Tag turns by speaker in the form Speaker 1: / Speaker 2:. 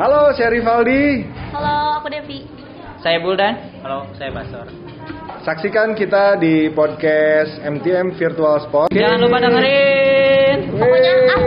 Speaker 1: Halo, saya Rivaldi.
Speaker 2: Halo, aku Devi.
Speaker 3: Saya Buldan. Halo, saya Basor.
Speaker 1: Saksikan kita di podcast MTM Virtual Sport.
Speaker 3: Jangan lupa dengerin.
Speaker 2: Pokoknya